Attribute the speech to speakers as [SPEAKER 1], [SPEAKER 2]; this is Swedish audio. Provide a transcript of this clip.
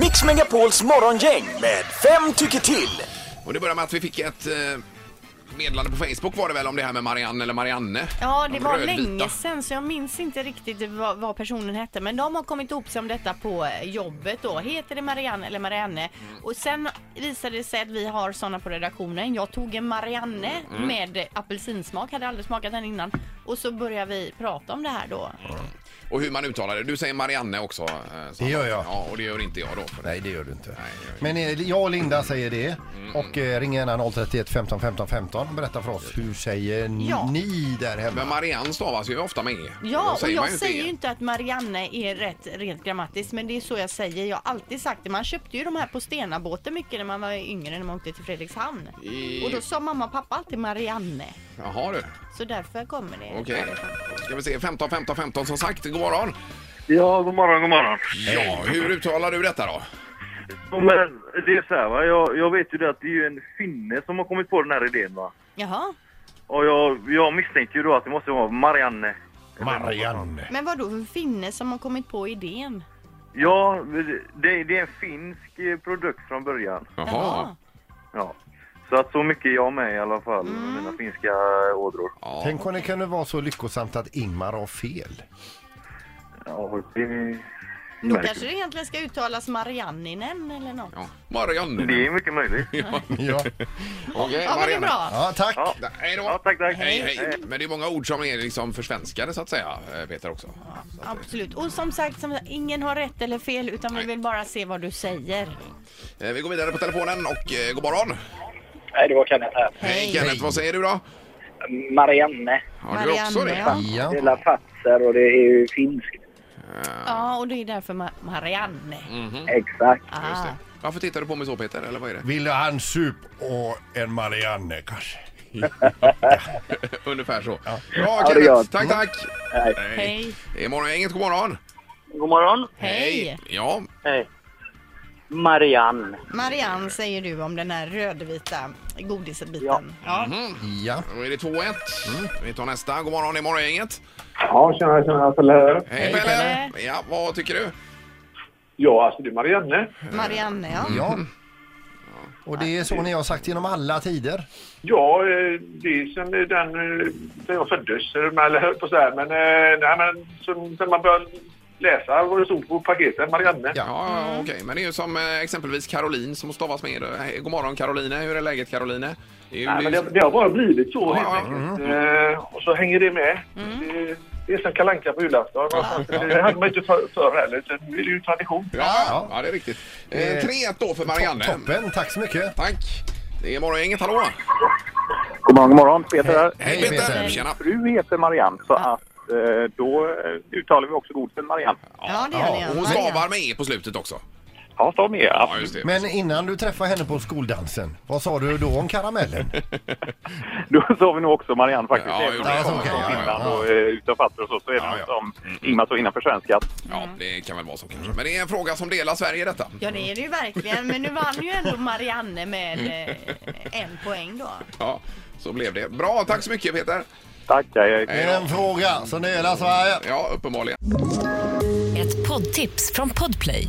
[SPEAKER 1] Mix Megapols morgongäng med fem tycker till.
[SPEAKER 2] Och det börjar med att vi fick ett eh, meddelande på Facebook var det väl om det här med Marianne eller Marianne?
[SPEAKER 3] Ja, det
[SPEAKER 2] De
[SPEAKER 3] var
[SPEAKER 2] rödvita.
[SPEAKER 3] länge sedan så jag minns inte riktigt vad, vad personen hette. Men de har kommit ihop sig om detta på eh, jobbet då. Heter det Marianne eller Marianne?
[SPEAKER 2] Mm.
[SPEAKER 3] Och sen visade det sig att vi har sådana på redaktionen. Jag tog en Marianne
[SPEAKER 2] Mm.
[SPEAKER 3] med apelsinsmak, hade aldrig smakat den innan. Och så började vi prata om det här då.
[SPEAKER 2] Och hur man uttalar det. Du säger Marianne också. eh, Sandra.
[SPEAKER 4] Det gör jag.
[SPEAKER 2] Ja, och det gör inte jag då. För
[SPEAKER 4] Nej, det gör du inte.
[SPEAKER 2] gör
[SPEAKER 4] Men eh, jag och Linda säger det. Och eh, ring gärna 031 15 15 15 och berätta för oss hur säger ni
[SPEAKER 3] Ja.
[SPEAKER 4] ni där hemma?
[SPEAKER 2] Men Marianne stavas ju ofta med e. Då
[SPEAKER 3] Ja, och
[SPEAKER 2] man
[SPEAKER 3] jag
[SPEAKER 2] ju inte
[SPEAKER 3] säger
[SPEAKER 2] e.
[SPEAKER 3] ju inte att Marianne är rätt rent grammatiskt, men det är så jag säger. Jag har alltid sagt det. Man köpte ju de här på Stenabåten mycket när man var yngre, när man åkte till Fredrikshamn.
[SPEAKER 2] I-
[SPEAKER 3] Och då sa mamma och pappa alltid Marianne.
[SPEAKER 2] Jaha du.
[SPEAKER 3] Så därför kommer det.
[SPEAKER 2] Okej. Ska vi se. 15, 15, 15 som sagt. God morgon.
[SPEAKER 5] Ja, god morgon, god morgon.
[SPEAKER 2] Ja, hur uttalar du detta då?
[SPEAKER 5] Ja, Men det är så här, va? Jag, jag vet ju det att det är ju en finne som har kommit på den här idén. Va?
[SPEAKER 3] Jaha.
[SPEAKER 5] Och jag, jag misstänker ju då att det måste vara Marianne.
[SPEAKER 4] Marianne.
[SPEAKER 3] Men vad då för finne som har kommit på idén?
[SPEAKER 5] Ja, det, det är en finsk eh, produkt från början.
[SPEAKER 2] Jaha.
[SPEAKER 5] Ja. Så att så mycket är jag med i alla fall, mina finska ådror.
[SPEAKER 2] Ja.
[SPEAKER 4] Tänk om det kunde vara så lyckosamt att Ingmar har fel.
[SPEAKER 5] Ja, det,
[SPEAKER 3] Då kanske det egentligen ska uttalas Marianninen eller något.
[SPEAKER 2] ja. Marianne.
[SPEAKER 5] det är mycket möjligt.
[SPEAKER 4] Ja,
[SPEAKER 2] Okej,
[SPEAKER 3] Ja, men det är
[SPEAKER 2] Eh, Marianne.
[SPEAKER 3] bra.
[SPEAKER 4] ja tack.
[SPEAKER 5] Ja,
[SPEAKER 2] Nej, Hej då.
[SPEAKER 5] ja tack, tack.
[SPEAKER 2] Hej, hej. Men det är många ord som är liksom försvenskade så att säga, eh, Peter också. Så att,
[SPEAKER 3] Absolut. Och som sagt, som sagt, ingen har rätt eller fel utan
[SPEAKER 2] Nej.
[SPEAKER 3] vi vill bara se vad du säger.
[SPEAKER 2] eh, vi går vidare på telefonen och eh, god morgon.
[SPEAKER 6] Nej, det var Kenneth här.
[SPEAKER 2] Hej Kenneth, vad säger du då?
[SPEAKER 6] Marianne.
[SPEAKER 2] Har du också det?
[SPEAKER 3] ja.
[SPEAKER 6] Det är
[SPEAKER 4] Ja.
[SPEAKER 6] lafatser och det är ju finskt.
[SPEAKER 3] ja, och det är därför Ma- Marianne.
[SPEAKER 6] Exakt.
[SPEAKER 2] Mm, Just
[SPEAKER 3] Ah.
[SPEAKER 2] det. Varför tittar du på mig så Peter, eller vad är det?
[SPEAKER 4] Ville han sup och en Marianne kanske?
[SPEAKER 2] Ungefär så. Ja,
[SPEAKER 6] Ja,
[SPEAKER 2] Bra
[SPEAKER 6] det gör
[SPEAKER 2] Kenneth,
[SPEAKER 6] jag. Mm.
[SPEAKER 2] tack tack!
[SPEAKER 6] Nej.
[SPEAKER 3] Hej.
[SPEAKER 2] Det är morgongänget, god morgon!
[SPEAKER 6] God morgon.
[SPEAKER 3] Hej.
[SPEAKER 2] Ja,
[SPEAKER 6] Hej. Marianne.
[SPEAKER 3] Marianne säger du om den här rödvita godisbiten. Ja.
[SPEAKER 4] Ja.
[SPEAKER 2] då är det 2-1. Vi tar nästa. God morgon, det är morgongänget.
[SPEAKER 7] Ja, tjena, tjena, Pelle här.
[SPEAKER 2] Hej Pelle! Ja, vad tycker du?
[SPEAKER 7] Ja, alltså det är Marianne.
[SPEAKER 3] Marianne, ja.
[SPEAKER 2] Mm.
[SPEAKER 4] ja. Och det är så ni har sagt genom alla tider.
[SPEAKER 7] Ja, eh, det är sen den, eh, sen jag föddes, eh, eller höll på så här, men, eh, nej, men som, sen man började läsa vad det stod på paketen, Marianne.
[SPEAKER 4] Ja.
[SPEAKER 2] Ja, ja, okej. Men det är ju som eh, exempelvis Caroline som stavas med. Hej, God morgon Caroline, hur är läget Caroline? Det är ju- liksom-
[SPEAKER 7] Nej, men det,
[SPEAKER 2] det är ju-
[SPEAKER 7] det har bara blivit så
[SPEAKER 2] Ja,
[SPEAKER 7] helt
[SPEAKER 2] ja. Mm.
[SPEAKER 7] enkelt. Eh, och så hänger det med. Det, det är som Kalle Anka på julafton. eh, Det hade man inte för- förr heller, utan det är ju tradition.
[SPEAKER 2] Ja, ja, ja, det är riktigt. Eh,
[SPEAKER 4] Eh,
[SPEAKER 2] 3-1 då för Marianne.
[SPEAKER 4] Toppen, tack så mycket.
[SPEAKER 2] Tack. Det är morgongänget, hallå!
[SPEAKER 5] God morgon, god morgon. Peter här.
[SPEAKER 2] Hej
[SPEAKER 4] Hej,
[SPEAKER 2] Peter!
[SPEAKER 4] Peter.
[SPEAKER 2] Tjena!
[SPEAKER 5] Fru heter Marianne, så att eh, då eh, uttalar vi också godisen Marianne.
[SPEAKER 3] Ja, det gör ni.
[SPEAKER 2] och hon
[SPEAKER 3] Marianne.
[SPEAKER 2] stavar med E på slutet också.
[SPEAKER 5] Ja, så med.
[SPEAKER 2] Ja, just det.
[SPEAKER 4] Men innan du träffade henne på skoldansen, vad sa du då om karamellen?
[SPEAKER 5] Då sa vi nog också Marianne faktiskt.
[SPEAKER 2] Ja,
[SPEAKER 5] Även om
[SPEAKER 2] jo,
[SPEAKER 5] det
[SPEAKER 4] ja,
[SPEAKER 5] kommer
[SPEAKER 4] okej,
[SPEAKER 5] från
[SPEAKER 4] ja, ja,
[SPEAKER 5] Finland
[SPEAKER 4] ja.
[SPEAKER 5] och eh, utav fatter och så, så är det
[SPEAKER 2] Ja,
[SPEAKER 5] ja,
[SPEAKER 2] ja.
[SPEAKER 5] som Ingmar så innan försvenskat.
[SPEAKER 2] Ja, det kan väl vara så kanske. Men det är en fråga som delar Sverige detta.
[SPEAKER 3] Ja, det är det ju verkligen. Men nu vann ju ändå Marianne med eh, en poäng då.
[SPEAKER 2] Ja, så blev det. Bra, tack så mycket Peter!
[SPEAKER 5] Tack, hej, hej.
[SPEAKER 4] Det är en fråga som delar Sverige.
[SPEAKER 2] Ja, uppenbarligen.
[SPEAKER 8] Ett poddtips från Podplay.